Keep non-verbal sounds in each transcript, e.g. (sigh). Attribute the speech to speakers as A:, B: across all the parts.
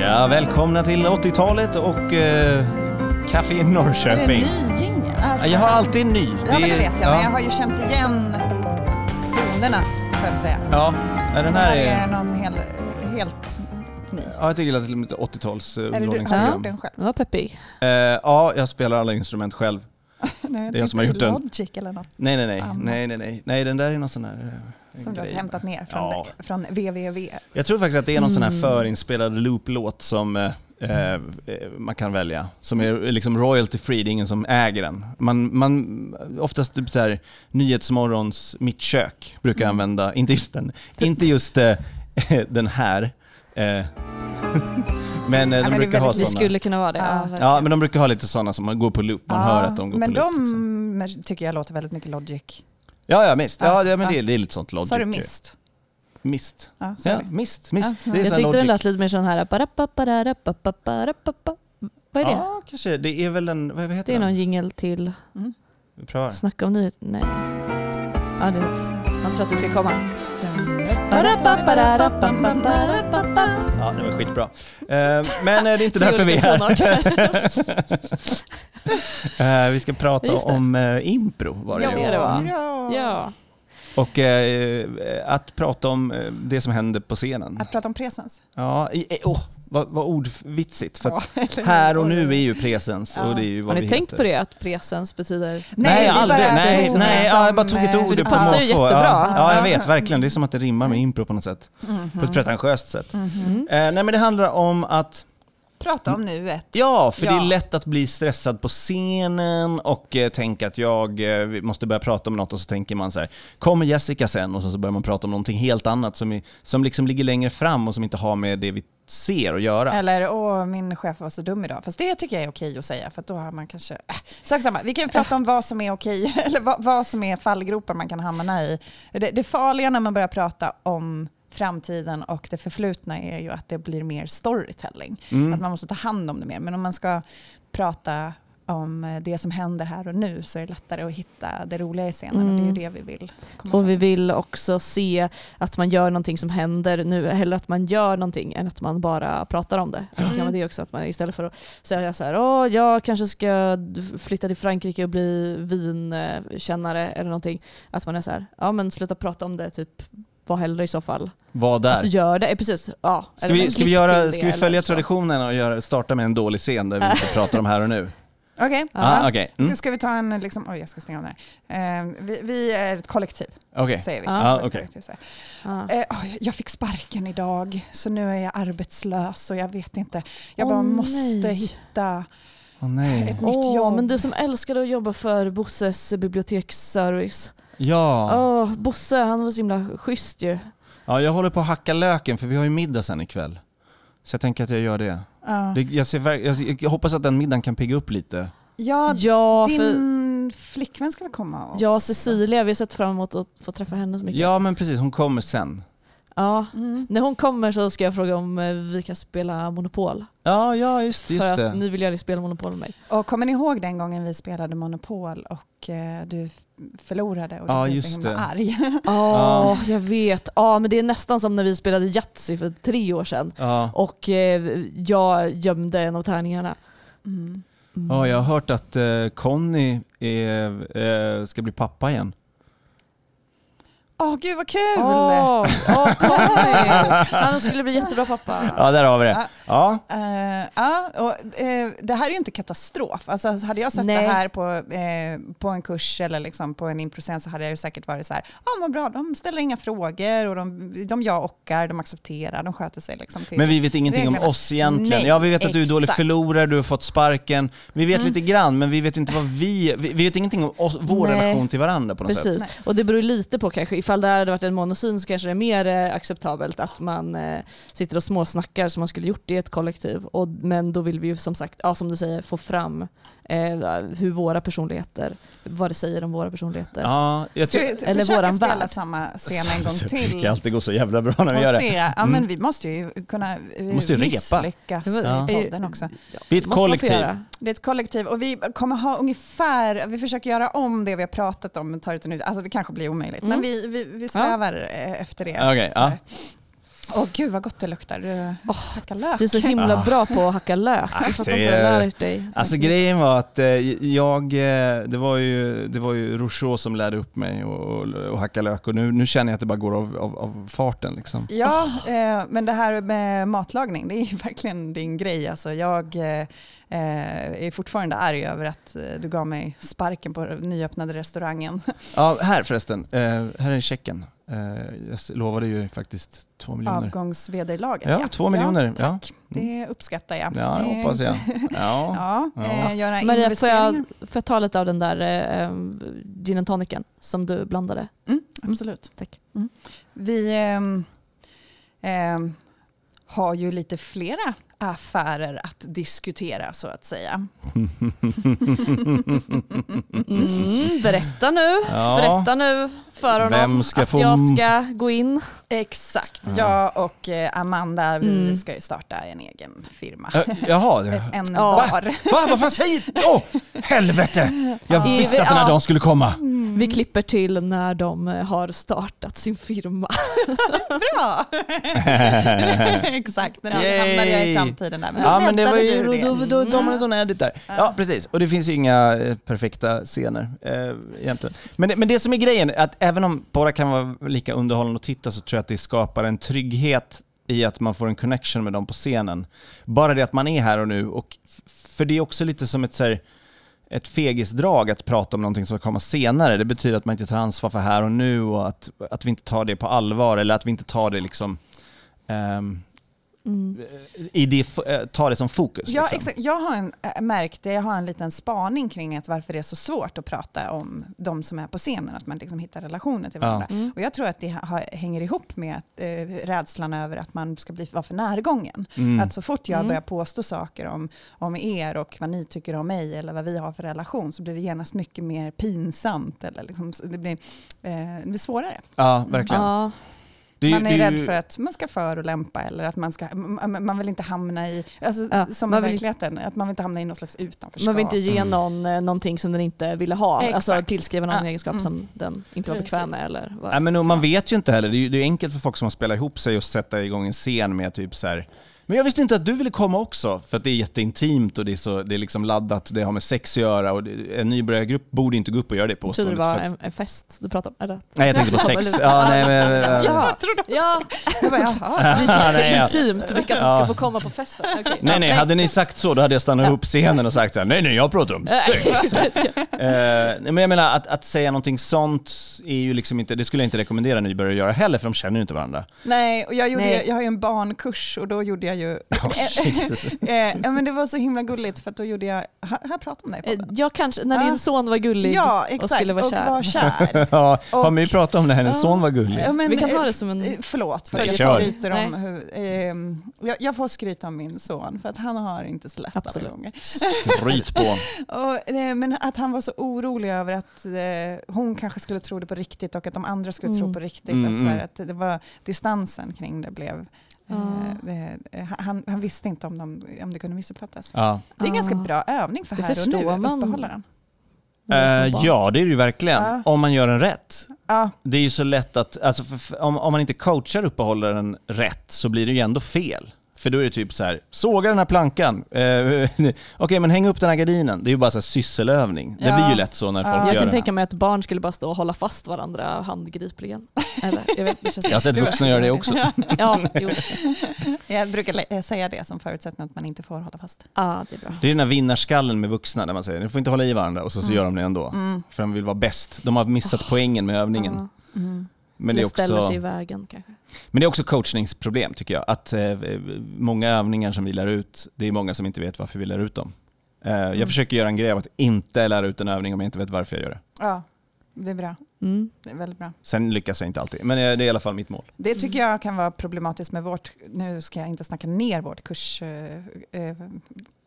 A: Ja, välkomna till 80-talet och eh, Café i
B: Är det en
A: Norrköping.
B: ny jingel? Alltså,
A: Jag har alltid en ny.
B: Ja, men det
A: är-
B: vet jag. Men jag har ju känt igen tonerna, så att säga.
A: Ja, ja den här
B: är
A: är...
B: någon hel, helt ny.
A: Ja, jag tycker att det är lite 80-tals eh,
B: Är det du som har gjort
A: underhållningsprogram.
B: den själv?
C: Den var peppig.
A: Eh, Ja, jag spelar alla instrument själv.
B: Nej,
A: Det är jag som har
B: inte
A: gjort den.
B: Logic eller något
A: Nej, nej, nej.
B: Amma.
A: Nej, nej, nej. Nej, den där är någon sån här... eh,
B: som du har
A: grej.
B: hämtat ner från,
A: Ja.
B: från www.
A: Jag tror faktiskt att det är någon
B: Mm.
A: sån här förinspelad looplåt som eh, eh, man kan välja. Som är liksom royalty free, det är ingen som äger den. Man, man, oftast typ så här, Nyhetsmorgons Mitt kök brukar jag
B: Mm.
A: använda, inte just den, inte just eh, (laughs) den här. Eh, (laughs) men eh, de
B: men det är
A: brukar ha
B: väldigt-
C: Det
B: vi
A: såna.
C: skulle kunna vara det.
B: Ja.
C: verkligen.
A: Ja, men de brukar ha lite såna som man går på loop, man
B: Ja,
A: hör att de går
B: Men
A: på loop. liksom.
B: de tycker jag låter väldigt mycket Logic.
A: Ja, ja, mist. Ja,
B: Ja,
A: ja men
B: ja.
A: Det, är, det är lite sånt logic.
B: Sa du Mist?
A: Mist.
B: Ja, sorry.
A: Ja, mist, mist.
B: Ja,
A: det är
C: jag
A: sån
C: tyckte
A: logic.
C: den lät lite mer sån här... barapaparapapaparapapapa. Vad är det?
A: Ja, kanske. Det är väl en, vad heter
C: det är
A: den?
C: någon jingel till
A: Vi provar.
C: Snacka om nyheter. Nej. Ja, det, man tror att det ska komma. Barapaparapapaparapapa.
A: Ja, det var skitbra. Eh, Men eh, det är inte
C: Det
A: därför vi är
C: (laughs) gjorde
A: här. (laughs)
C: lite
A: Eh, Vi ska prata
C: Just det.
A: om eh, impro. Var det
C: Ja,
A: ju. Mm.
C: det var.
B: Ja.
C: Ja.
A: Och eh, att prata om eh, det som händer på scenen.
B: Att prata om presens.
A: Ja, i- eh, åh, vad, vad ordvitsigt. För att
B: Ja, (laughs) eller hur?
A: här och nu är ju presens och
B: Ja.
A: det är ju
C: Har
A: vad
C: ni
A: vi
C: tänkt
A: heter.
C: på det att presens betyder...
A: Nej,
B: vi bara
A: aldrig. Nej,
B: tog
A: nej,
B: det
A: ja, jag
B: som,
A: bara tog ett
B: eh,
A: ord
C: det
A: på
C: passar ju
A: måfå. Ja,
C: jättebra.
A: ja, jag vet verkligen. Det är som att det rimmar
B: Mm.
A: med impro på något sätt. På ett pretentiöst sätt.
C: Mm-hmm.
A: Eh, nej, men det handlar om att
B: Prata om nuet.
A: Ja, för det är
B: Ja.
A: lätt att bli stressad på scenen och eh, tänka att jag eh, vi måste börja prata om något och så tänker man så här, kommer Jessica sen? Och så, så börjar man prata om någonting helt annat som, är, som liksom ligger längre fram och som inte har med det vi ser att göra.
B: Eller, åh, min chef var så dum idag. Fast det tycker jag är okej att säga, för att då har man kanske... Äh, sak samma, vi kan ju prata om vad som är okej, (laughs) eller vad, vad som är fallgropar man kan hamna i. Det, det farliga när man börjar prata om framtiden och det förflutna är ju att det blir mer storytelling.
A: Mm.
B: Att man måste ta hand om det mer. Men om man ska prata om eh, det som händer här och nu så är det lättare att hitta det roliga i scenen och det är
A: Mm.
B: ju det vi vill. komma fram
C: Och vi vill också se att man gör någonting som händer nu, hellre att man gör någonting än att man bara pratar om det. Att det
A: Mm.
C: kan vara det också, att man istället för att säga så här, Åh, jag kanske ska flytta till Frankrike och bli vinkännare eller någonting. Att man är så här, ja men sluta prata om det, typ var hellre i så fall.
A: Vad
C: Att du
A: där?
C: gör det, eh, precis. Ja.
A: Ska
C: Eller
A: vi,
C: en
A: ska vi,
C: klipp
A: göra,
C: till
A: ska
C: det
A: vi följa
C: eller så.
A: traditionen och göra, starta med en dålig scen där vi inte pratar om här och nu?
B: till. Okej,
A: Ah,
B: Ja.
A: Okej,
B: Nu
A: mm,
B: ska vi ta en... Liksom, oj, jag ska stänga av den här. Eh, vi, vi är ett kollektiv.
A: okej.
B: säger vi.
A: Ja,
B: Kollektivt
A: okej.
B: kollektivt så här.
C: Ja.
B: Eh, oj, jag fick sparken idag, så nu är jag arbetslös och jag vet inte. Jag bara
C: Åh,
B: måste
C: nej.
B: hitta
A: Åh
B: ett
A: nej.
B: nytt
C: Åh,
B: jobb.
C: men du som älskade att jobba för Bosses biblioteksservice.
A: Ja.
C: Åh, Bosse han var så himla schysst ju.
A: ja, jag håller på att hacka löken för vi har ju middag sen ikväll. Så jag tänker att jag gör det.
B: Ja.
A: Det, jag, ser, verk- jag, ser- jag hoppas att den middagen kan pigga upp lite.
B: ja,
C: Ja, för,
B: din flickvän ska väl komma? Också.
C: ja, Cecilia, vi har sett fram emot att få träffa henne så mycket. Ja.
A: Ja men precis, hon kommer sen.
B: Mm.
C: När hon kommer så ska jag fråga om eh, vi kan spela Monopol.
A: Ja, ja just,
C: för
A: just
C: att
A: det.
C: ni vill ju aldrig spela Monopol med mig.
B: Och kommer ni ihåg den gången vi spelade Monopol och eh, du f- förlorade och du
A: Ja,
B: blev
A: just
B: så himla
A: det.
B: arg? (laughs)
C: Ja, jag vet. Ja, men det är nästan som när vi spelade Yatzy för tre år sedan.
A: Ja.
C: Och eh, jag gömde en av tärningarna.
B: Mm.
A: Ja, jag har hört att eh, Conny är, eh, ska bli pappa igen.
B: Åh, gud vad kul!
C: Åh, åh, Conny! Han skulle bli jättebra
A: (laughs)
C: pappa.
A: Ja, där har vi det. Ja,
B: Eh, ja, och, eh, det här är ju inte katastrof. Alltså, hade jag sett
C: Nej.
B: det här på, eh, på en kurs eller liksom på en improscen så hade jag ju säkert varit så här, ja ah, vad bra, de ställer inga frågor och de, de jag ockar, de accepterar, de sköter sig liksom till.
A: men vi vet ingenting om
B: Reglerna.
A: oss egentligen.
B: Nej,
A: ja, vi vet att du är dålig
B: exakt.
A: förlorare, du har fått sparken. Vi vet lite grann, men vi vet inte vad vi... Vi, vi vet ingenting om oss, vår
C: Nej.
A: relation till varandra på något sätt.
C: Precis, och det beror lite på kanske. Ifall det här hade varit en monosin så kanske det är mer eh, acceptabelt att man eh, sitter och småsnackar som man skulle gjort i ett kollektiv. Och, men då vill vi ju som sagt, ja, som du säger, få fram eh, hur våra personligheter, vad det säger om våra personligheter.
A: Ja, jag
B: Ska
A: ty-
B: vi
C: Eller
B: försöka
C: våran
B: spela
C: värld.
B: samma
A: Alltså,
B: scen en gång
A: Det
B: till?
A: brukar alltid gå så jävla bra när vi gör
B: Och
A: det. Mm.
B: se, ja men vi måste ju kunna eh,
A: Måste ju repa.
B: misslyckas
C: Det var-
A: Ja.
B: i podden också.
C: Ja,
A: Vi är ett
C: måste man få
A: kollektiv.
C: göra.
B: Det är ett kollektiv och vi kommer ha ungefär, vi försöker göra om det vi har pratat om, men tar inte nu, alltså det kanske blir omöjligt, men vi, vi, vi strävar eh, efter det.
A: Mm. Okej,
B: Så här.
A: ja.
B: Åh gud vad gott det luktar. Du
C: Åh,
B: hackar lök.
C: Du är så himla bra på att hacka lök. Jag fattar inte hur du lär dig.
A: Ah. Alltså grejen var att eh, jag, eh, det var ju, det var ju Rousseau som lärde upp mig och, och, och hacka lök och nu, nu känner jag att det bara går av, av, av farten liksom.
B: Ja, eh, men det här med matlagning, det är ju (laughs) verkligen din grej. Alltså, jag eh, eh, är fortfarande arg över att eh, du gav mig sparken på den nyöppnade restaurangen.
A: Ja, här förresten, eh, här är checken. Eh, jag s- lovade ju faktiskt två miljoner.
B: Avgångsvederlaget.
A: Ja, två miljoner. Ja,
B: tack. Det uppskattar jag.
A: ja
B: Det
A: det
B: är
A: hoppas jag. Ja.
B: Ja,
A: Ja.
B: Eh, göra
C: Maria, får jag,
B: investeringar. Mm,
C: får jag ta lite av den där eh, eh, gin and tonicen som du blandade?
B: Mm, absolut.
C: Tack.
B: Mm. Vi ehm, ehm, har ju lite flera affärer att diskutera så att säga.
C: Mm, berätta nu.
A: Ja.
C: Berätta nu för honom
A: Vem ska
C: att
A: få-
C: jag ska gå in.
B: Exakt,
A: Ja.
B: jag och eh, Amanda vi
C: Mm.
B: ska ju starta en egen firma.
A: Eh, Jaha, det-
B: Ett- En
C: Ja.
B: bar.
A: Va, vad fan säger Åh, helvete! Jag
C: Ja.
A: visste att den här dagen skulle komma.
B: Mm.
C: Vi klipper till när de eh, har startat sin firma.
B: Bra! Exakt, nu
A: Yay.
B: hamnade jag i framtiden där. Men
A: Ja
B: då
A: men det var
B: räddade
A: ju,
B: du det.
A: då, då, då tar man en sån edit där. Ja precis, och det finns ju inga eh, perfekta scener eh, egentligen. Men, det- men det som är grejen, är att även om Bora kan vara lika underhållande att titta så tror jag att det skapar en trygghet i att man får en connection med dem på scenen. Bara det att man är här och nu, och, f- för det är också lite som ett så här, ett fegisdrag att prata om någonting som kommer senare. Det betyder att man inte tar ansvar för här och nu och att, att vi inte tar det på allvar eller att vi inte tar det liksom ehm,
C: Mm.
A: i det, f- eh, ta det som fokus.
B: Ja,
A: liksom.
B: exakt. Jag har en, äh, märkt det, jag har en liten spaning kring att varför det är så svårt att prata om de som är på scenen, att man liksom hittar relationer till
A: Ja.
B: varandra.
C: Mm.
B: Och jag tror att det ha, hänger ihop med att, eh, rädslan över att man ska bli, vara för närgången.
A: Mm.
B: Att så fort jag
C: Mm.
B: börjar påstå saker om, om er och vad ni tycker om mig eller vad vi har för relation så blir det genast mycket mer pinsamt. Eller liksom, så det, blir, eh, det blir svårare.
A: Ja, verkligen.
C: Ja.
A: Det ju-
B: Man är
A: det
B: rädd
A: ju-
B: för att man ska förolämpa eller att man, ska, m- m- man vill inte hamna i, alltså,
C: Ja,
B: som i
C: man vill-
B: verkligheten, att man vill inte hamna i något slags utanförskap.
C: Man vill inte ge
A: Mm.
C: någon eh, någonting som den inte ville ha. Alltså
B: Exakt.
C: tillskriva någon
B: Ja.
C: egenskap
B: Mm.
C: som den inte var bekväm med.
B: Precis.
C: Eller vad.
A: Ja, men och man vet ju inte heller. Det är, ju- det är enkelt för folk som har spelat ihop sig att sätta igång en scen med typ så här. Men jag visste inte att du ville komma också, för att det är jätteintimt och det är, så, det är liksom laddat, det har med sex att göra och det, en nybörjargrupp borde inte gå upp och göra det
C: jag trodde
A: påståendet.
C: det
A: för
C: var
A: att,
C: en, en fest du pratade om. Eller?
A: Nej, jag tänkte på sex.
B: (laughs)
A: Ja, nej, men, eh,
C: Ja.
B: Jag trodde
C: (laughs) Ja,
B: Jag bara, jaha.
C: det
A: (laughs)
C: är
A: Nej, ja.
C: jätteintimt vilka som
A: Ja.
C: ska få komma på festen. Okej. Ja,
A: nej, nej, hade ni sagt så, då hade jag stannat upp scenen och sagt så här, nej, nej, jag pratar om
C: (laughs)
A: sex. Eh, nej, men jag menar att, att säga någonting sånt är ju liksom inte, det skulle jag inte rekommendera nybörjare att göra heller, för de känner ju inte varandra.
B: Nej, och jag, gjorde,
C: Nej.
B: ju- jag har ju en barnkurs och då gjorde jag ju...
A: (laughs) Oh, Jesus.
B: (laughs) Eh, ja, men det var så himla gulligt för att då gjorde jag... Här, här pratar om det i
C: Eh,
B: podden.
C: Jag kanske, när
B: Ah.
C: din son var gullig
B: Ja,
C: och
B: exakt.
C: skulle vara
A: (laughs)
C: kär.
B: kär.
A: Ja, har
B: Och-
A: My pratat om när hennes
C: Ja.
A: son var gullig?
B: Ja, men,
C: Vi kan ta
B: eh,
C: det som en...
B: eh, Förlåt för
A: Nej,
B: att
A: kör.
B: jag skryter om hur, ehm, jag, jag får skryta om min son för att han har inte så lätt alla
C: Absolut.
B: gånger.
A: Skryt på.
B: Och, eh, men att han var så orolig över att eh, hon kanske skulle tro det på riktigt och att de andra skulle tro
C: Mm.
B: på riktigt.
A: Mm,
B: Alltså,
A: mm.
B: att det var distansen kring det blev... eh,
C: Ah.
B: det- eh, han, han visste inte om, de, om det kunde missuppfattas.
A: Ja.
B: Det är en ganska
C: Ah.
B: bra övning för
C: Det
B: här och nu,
C: förstår man.
B: uppehålla den.
A: Eh, ja, det är det ju verkligen.
B: Ja.
A: Om man gör den rätt.
B: Ja,
A: Det är ju så lätt att, alltså för, för, om, om man inte coachar uppehållaren rätt så blir det ju ändå fel. För då är det typ så här, såga den här plankan. Eh, (laughs) Okej, men häng upp den här gardinen. Det är ju bara så här sysselövning. Det
B: Ja.
A: blir ju lätt så när folk
B: Ja.
A: gör
C: Jag kan
A: det.
C: tänka mig att barn skulle bara stå och hålla fast varandra handgripligen. Eller, jag, vet, det känns
A: Jag har sett vuxna göra det också.
C: Ja, jo.
A: (laughs)
B: jag brukar lä- eh, säga det som förutsättning att man inte får hålla fast.
C: Ah, det är bra.
A: Det är den här vinnarskallen med vuxna där man säger, ni får inte hålla i varandra och så, så
C: Mm.
A: gör de det ändå.
B: Mm.
A: För de vill vara bäst. De har missat poängen med övningen.
C: Ja.
A: Men det är
C: Eller ställer
A: också...
C: sig i vägen kanske.
A: Men det är också coachningsproblem tycker jag. Att eh, många övningar som vi lär ut, det är många som inte vet varför vi lär ut dem. Eh, jag
C: Mm.
A: försöker göra en grej av att inte lära ut en övning om jag inte vet varför jag gör det.
B: Ja, det är bra.
C: Mm.
B: Det är väldigt bra.
A: Sen lyckas jag inte alltid, men eh, det är i alla fall mitt mål.
B: Det tycker jag kan vara problematiskt med vårt, nu ska jag inte snacka ner vårt kurs, eh, eh,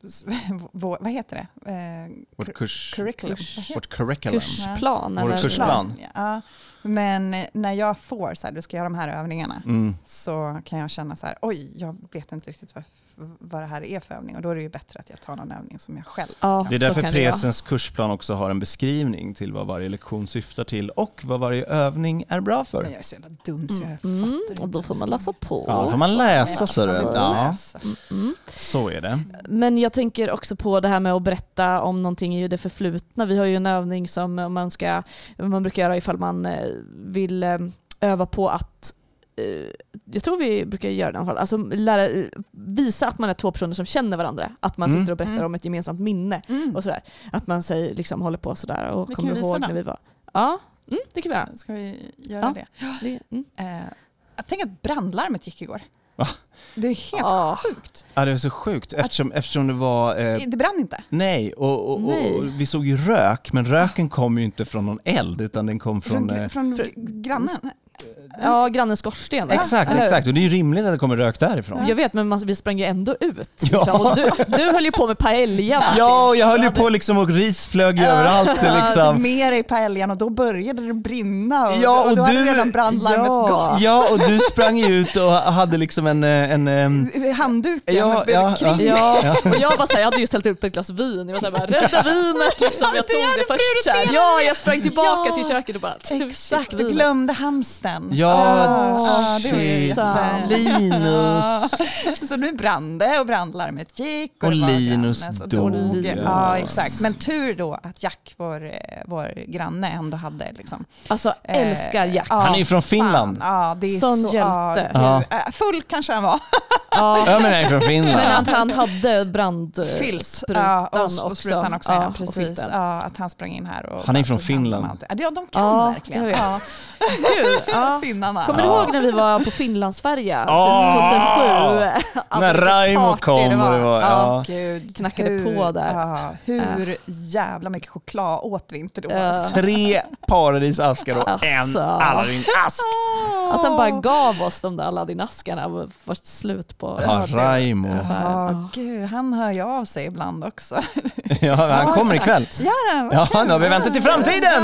B: s- (laughs) vår, vad heter det? Eh,
A: Vårt kurs...
B: curriculum.
C: Kurs.
B: Vad heter
A: Vårt curriculum.
C: Kursplan.
A: Vår
C: eller-
B: det?
A: kursplan.
B: Ja, Men när jag får så här, du ska göra de här övningarna,
A: Mm.
B: så kan jag känna så här, oj, jag vet inte riktigt vad, vad det här är för övning. Och då är det ju bättre att jag tar någon övning som jag själv
C: Ja,
A: Det är
C: så
A: därför
C: kan det vara.
A: presens kursplan också har en beskrivning till vad varje lektion syftar till och vad varje övning är bra för.
B: Men jag är så jävla dum så jag fattar
C: Mm,
B: inte.
C: och då får man läsa på.
A: Ja, då får man läsa
B: Jag
A: så du
B: kan
A: vet.
B: inte
A: Ja,
B: läsa.
C: Mm.
A: så är det.
C: Men jag tänker också på det här med att berätta om någonting i det förflutna. Vi har ju en övning som man, ska, man brukar göra ifall man eh, vill eh, öva på att eh, jag tror vi brukar göra det i alla fall. Alltså lära, visa att man är två personer som känner varandra. Att man
A: Mm.
C: sitter och berättar
B: Mm.
C: om ett gemensamt minne.
B: Mm.
C: Och sådär. Att man säger, liksom, håller på sådär och
B: Vi kan
C: kommer
B: visa
C: ihåg
B: den.
C: när vi var... Ja, mm, det kan vi göra.
B: Ska vi göra
C: Ja.
B: det?
C: Det, mm.
B: Eh, jag tänker att brandlarmet gick igår.
A: Va?
B: Det är helt
C: Ja.
B: sjukt.
A: Ja, det var så sjukt eftersom, eftersom det var... Eh,
B: Det brann inte.
A: nej, och, och, och,
C: Nej.
A: och vi såg ju rök, men röken kom ju inte från någon eld utan den kom
B: Från,
A: från...
B: gr-
A: Eh,
B: från
C: från-
B: gr- grannen.
C: ja, grannens skorsten. där.
A: exakt,
C: Eller hur?
A: exakt. Och det är ju rimligt att det kommer rök därifrån.
C: Jag vet, men man, vi sprang ju ändå ut.
A: Ja.
C: Liksom. Och du, du höll ju på med paella. Martin.
A: Ja, och jag höll
C: Du
A: ju
C: hade-
A: på liksom och ris flög ju
C: Ja.
A: överallt
B: Tog
A: liksom.
B: med dig paellan och då började det brinna och,
A: Ja,
B: och,
A: och
B: då hade
A: du-
B: redan brandlarmet
C: Ja.
B: gått.
A: Ja, och du sprang ju ut och hade liksom en... eh, en ehm,
B: Handduken
A: Ja, ja,
B: kring
A: ja.
C: Ja, och jag, var så här, jag hade just hällt upp ett glas vin. Jag var så här, bara, rädda vinet liksom. Jag tog det först. Så här. Ja, jag sprang tillbaka
B: Ja.
C: till köket och bara...
B: Exakt,
C: vinet.
B: du glömde hamsten.
A: Ja,
B: Ah, det var ju
A: shit.
B: jätte-
A: Linus.
B: Så nu brann det och brandlarmet gick. Och,
A: Och
B: det var
A: Linus
B: granne, så
A: dog.
B: Ja, exakt. Men tur då att Jack, vår, eh, vår granne, ändå hade liksom...
C: Alltså,
B: eh,
C: älskar Jack.
B: ja,
A: Han är ju från Finland.
B: Fan, ja, det är
C: Sån
B: så, ja,
C: hjälte.
B: gud. Eh, Full kanske han var.
C: Ja.
A: (laughs) Ja, men han är från
C: Men att
A: Finland.
C: han hade brand...
B: Filt.
C: Eh, sprutan
B: Ja, och,
C: också.
B: och sprutan också.
C: Ja,
B: Ja,
C: och
B: precis.
C: filten.
B: ja, att han sprang in här. Och
A: Han är
B: bara
A: från
B: tog hand om
A: Finland.
B: allt. Ja, de- de kan
C: Ja,
B: verkligen.
C: jag vet.
B: Ja,
C: Gud,
B: (laughs)
C: ja.
B: finnarna.
C: Kommer
A: Ja.
C: du ihåg när vi var på Finlandsfärja?
A: Ja.
C: Typ 2007? Alltså,
A: När
C: vilket
A: Raimo
C: party
A: kom och det var... Ja.
B: Gud,
C: Knackade på där.
B: ja, hur jävla mycket choklad åt vi inte då?
C: Ja.
B: alltså?
A: Tre paradisaskar och en
C: Alltså.
A: Aladdin-ask.
C: Att han bara gav oss de där Aladdin-askarna var först slut på...
A: Ja,
B: det-
A: Raimo.
B: Ja, gud, han hör ju av sig ibland också.
A: Ja, han kommer ikväll.
B: Gör han?
A: Ja, nu har vi väntat till framtiden!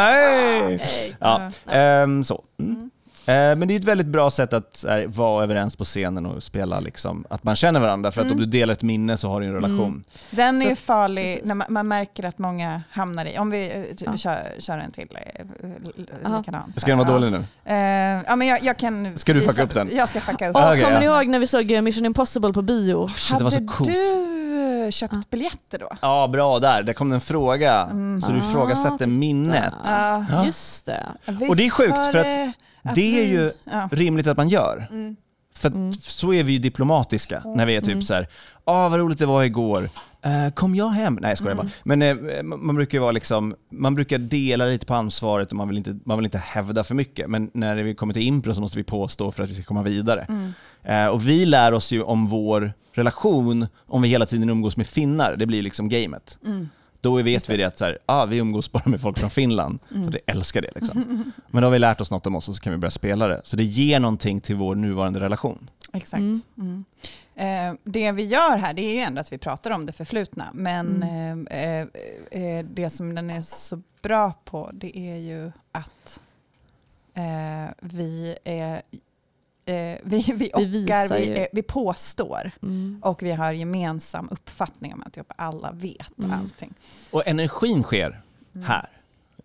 A: Hej! Ja, ehm, så. Mm. Eh, Men det är ett väldigt bra sätt att så här, vara överens på scenen och spela, liksom, att man känner varandra. För att om du delar ett minne så har du en relation.
B: Den är
C: Så
B: ju
C: att-
B: farlig
C: precis.
B: när man, man märker att många hamnar i. Om vi eh, t-
C: Ja.
B: kör, kör en till eh, l- l-
C: Ja.
B: likadan.
A: Ska den vara
B: Ja.
A: dålig nu?
B: Eh, ja, men jag, jag kan
A: Ska du
B: visa-
A: fucka upp den?
B: Jag ska fucka upp
C: Och
A: Ja,
B: den.
A: Okej,
C: kommer ni
A: ja.
C: ihåg när vi såg eh, Mission Impossible på bio?
A: Shit,
B: Hade
A: det var så coolt.
B: du eh, köpt biljetter då?
A: Ja, bra där. Där kom det en fråga. Så du
C: Ah,
A: ifrågasätter
C: titta.
A: minnet.
B: Ja.
A: Ja.
C: Just det.
B: Visst
A: Och det är sjukt,
B: var
A: för att
B: det
A: det är
B: vi-
A: ju-
B: Ja.
A: Rimligt att man gör.
B: Mm.
A: För att
C: Mm.
A: så är vi ju diplomatiska när vi är typ
C: Mm.
A: så här, ah, vad roligt det var igår. Eh, kom jag hem? Nej jag skojar
C: Mm.
A: bara. Men eh, man man brukar ju vara liksom, man brukar dela lite på ansvaret och man vill inte, man vill inte hävda för mycket. Men när vi kommer till impro så måste vi påstå för att vi ska komma vidare.
B: Mm.
A: Eh, och vi lär oss ju om vår relation om vi hela tiden umgås med finnar. Det blir liksom gamet.
B: Mm.
A: Då vet vi det att så här, ah, vi umgås bara med folk från Finland,
B: Mm.
A: för att jag älskar det. Liksom. Men då har vi lärt oss något om oss och så kan vi börja spela det. Så det ger någonting till vår nuvarande relation.
B: Exakt.
C: Mm.
B: Mm. Eh, det vi gör här det är ju ändå att vi pratar om det förflutna. Men eh, eh, eh, det som den är så bra på det är ju att eh, vi, är, eh, vi, vi ockar,
C: visar
B: vi,
C: ju.
B: eh, vi påstår
C: Mm.
B: och vi har gemensam uppfattning om att alla vet
C: Mm.
B: allting.
A: Och energin sker här.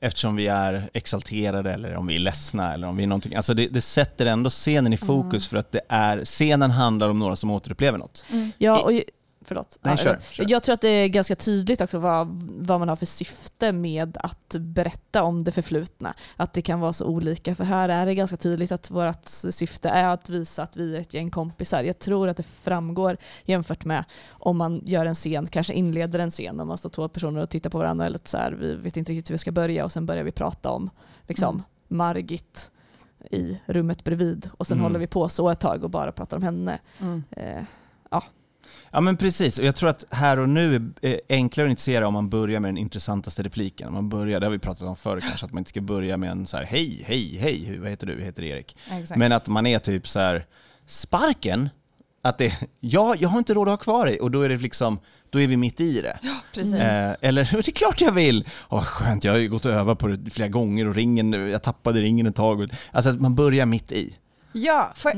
A: Eftersom vi är exalterade eller om vi är ledsna eller om vi är någonting. Alltså det, det sätter ändå scenen i fokus för att det är, scenen handlar om några som återupplever något.
C: Ja, och, ju- förlåt.
A: Nej,
C: ja,
A: kör,
C: jag-
A: kör.
C: Jag tror att det är ganska tydligt också vad, vad man har för syfte med att berätta om det förflutna. Att det kan vara så olika. För här är det ganska tydligt att vårt syfte är att visa att vi är ett gäng kompisar. Jag tror att det framgår jämfört med om man gör en scen, kanske inleder en scen om man står två personer och tittar på varandra. Eller så här, vi vet inte riktigt hur vi ska börja och sen börjar vi prata om liksom,
A: Mm.
C: Margit i rummet bredvid och sen
A: Mm.
C: håller vi på så ett tag och bara pratar om henne. Eh,
A: Ja men precis, och jag tror att här och nu är eh, enklare att initiera om man börjar med den intressantaste repliken. Om man börjar, det har vi pratat om förr kanske, att man inte ska börja med en så här hej, hej, hej, hur- vad heter du, jag heter Erik.
B: Exakt.
A: Men att man är typ så här sparken, Att det, ja, jag har inte råd att ha kvar dig och då är, det liksom, då är vi mitt i det.
B: Precis.
A: Eh, eller, (laughs) det är klart jag vill! Åh, vad skönt, jag har ju gått och övat på det flera gånger och ringen, jag tappade ringen ett tag. och- Alltså att man börjar mitt i.
B: Ja, får,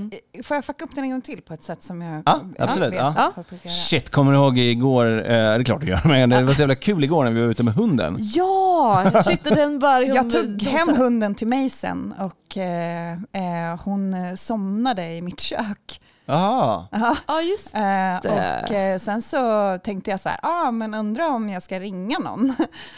B: får jag fucka upp den en gång till på ett sätt som jag
A: Ja, absolut,
B: vet
A: ja.
B: att folk brukar göra?
A: Shit, kommer du ihåg igår, eh, det är klart du gör, (laughs) men det var så jävla kul igår när vi var ute med hunden.
C: Ja! Shit, och den bara liksom
B: Jag tog
C: dosade.
B: hem hunden till mig sen och eh, eh, hon eh, somnade i mitt kök.
A: Jaha,
C: Ja, just
B: Eh,
C: Det-
B: och eh, sen så tänkte jag så här, ah, men undrar om jag ska ringa någon. (laughs)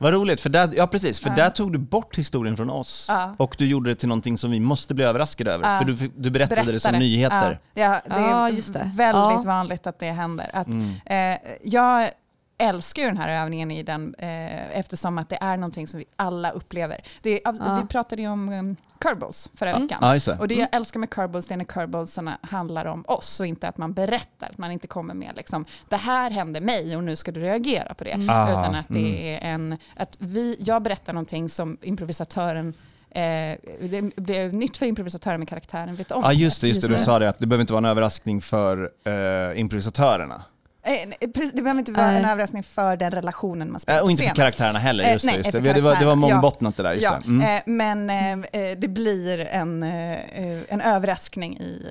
A: vad roligt, för, där, ja, precis, för där tog du bort historien från oss
B: Ja.
A: och du gjorde det till någonting som vi måste bli överraskade över,
B: Ja.
A: för du, du berättade, det som nyheter.
B: Ja, ja, det är
C: Ja, Ah, just det.
B: väldigt
C: Ja.
B: vanligt att det händer. Att,
A: Mm.
B: eh, jag älskar ju den här övningen i den, eh, eftersom att det är någonting som vi alla upplever. Det är,
C: Ja.
B: Vi pratade ju om um, curveballs förra veckan.
A: Ja, just det.
B: Och det jag älskar med curveballs det är när curvebalsarna handlar om oss och inte att man berättar, att man inte kommer med liksom, det här hände mig och nu ska du reagera på det.
A: Ah,
B: Utan att det är en, att vi, jag berättar någonting som improvisatören Eh, det blev nytt för improvisatören men karaktären vet om
A: Ja, just det, just det,
C: Just
A: du
C: det.
A: sa det, att det behöver inte vara en överraskning för eh, improvisatörerna.
B: Eh, nej, precis, det behöver inte vara
C: Nej.
B: en överraskning för den relationen man spelar
A: Eh, och inte
B: på
A: för
B: scenen.
A: karaktärerna heller,
B: Eh,
A: just
B: nej,
A: det. Just det.
B: för
A: Vi- det, var, det var
B: karaktärerna, ja.
A: mångbottnat det där, just
B: Ja,
A: det. Mm.
B: eh, men eh, eh, det blir en, eh, eh, en överraskning i,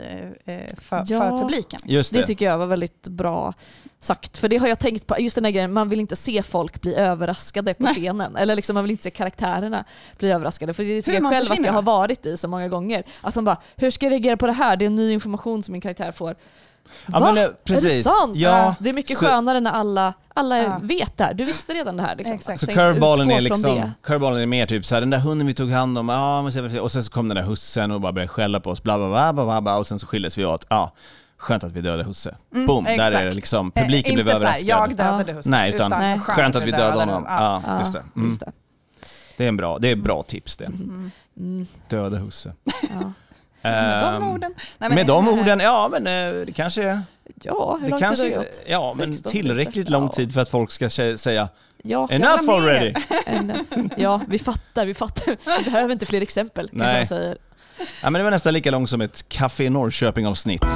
B: eh, för,
C: Ja.
B: för publiken.
A: Just
C: det. typ,
A: det.
C: tycker jag var väldigt bra sagt. För det har jag tänkt på, just den här grejen, man vill inte se folk bli överraskade på scenen. Eller liksom, man vill inte se karaktärerna bli överraskade. För det tycker
B: Hur
C: jag
B: man
C: själv att
B: försvinner,
C: jag har
B: va?
C: varit i så många gånger. Att man bara, hur ska jag reagera på det här? Det är ny information som min karaktär får.
A: Ja,
C: Va?
A: men, eh,
C: Är det
A: precis.
C: sant?
A: Ja,
C: det är mycket
A: så-
C: skönare när alla, alla
B: Ja.
C: vet det här. Du visste redan det här. Liksom.
B: Exakt.
A: Så
C: Tänk-
A: curveballen
C: utgå
A: är,
C: från
A: liksom,
C: det.
A: curveballen är mer typ så här, den där hunden vi tog hand om, ja, men så- och sen så kom den där hussen och bara började skälla på oss, bla bla bla, bla, bla, bla och sen så skildes vi åt. Ja, skönt att vi dödade husse. Boom, där är det
B: exakt.
A: liksom,
B: Eh,
A: publiken blev
B: inte så
A: överraskad.
B: här, jag dödade
C: Ja.
B: husen.
A: Nej, utan,
C: Nej.
A: skönt att vi dödade honom.
B: Ja.
A: Ja,
C: Ja,
A: just det. Mm.
C: Just det. Mm.
A: Det är en bra, det är ett bra tips det. Mm. Döda husse.
C: Ja.
B: Med de
A: Ehm,
B: orden. Nej, men-
A: Med
B: (laughs)
A: de orden, ja men eh, det kanske är...
C: Ja, hur
A: Det
C: lång
A: kanske,
C: tid har det gått?
A: Ja, men
C: 16
A: tillräckligt
C: minuter.
A: lång
C: Ja.
A: tid för att folk ska kä- säga
C: Ja,
A: “enough
B: vill ha mer."
A: already”.
C: (laughs) en- ja, vi fattar, vi fattar. Vi behöver inte fler exempel, kanske
A: Nej.
C: man säger.
A: Ja, men det var nästan lika långt som ett Café Norrköping-avsnitt.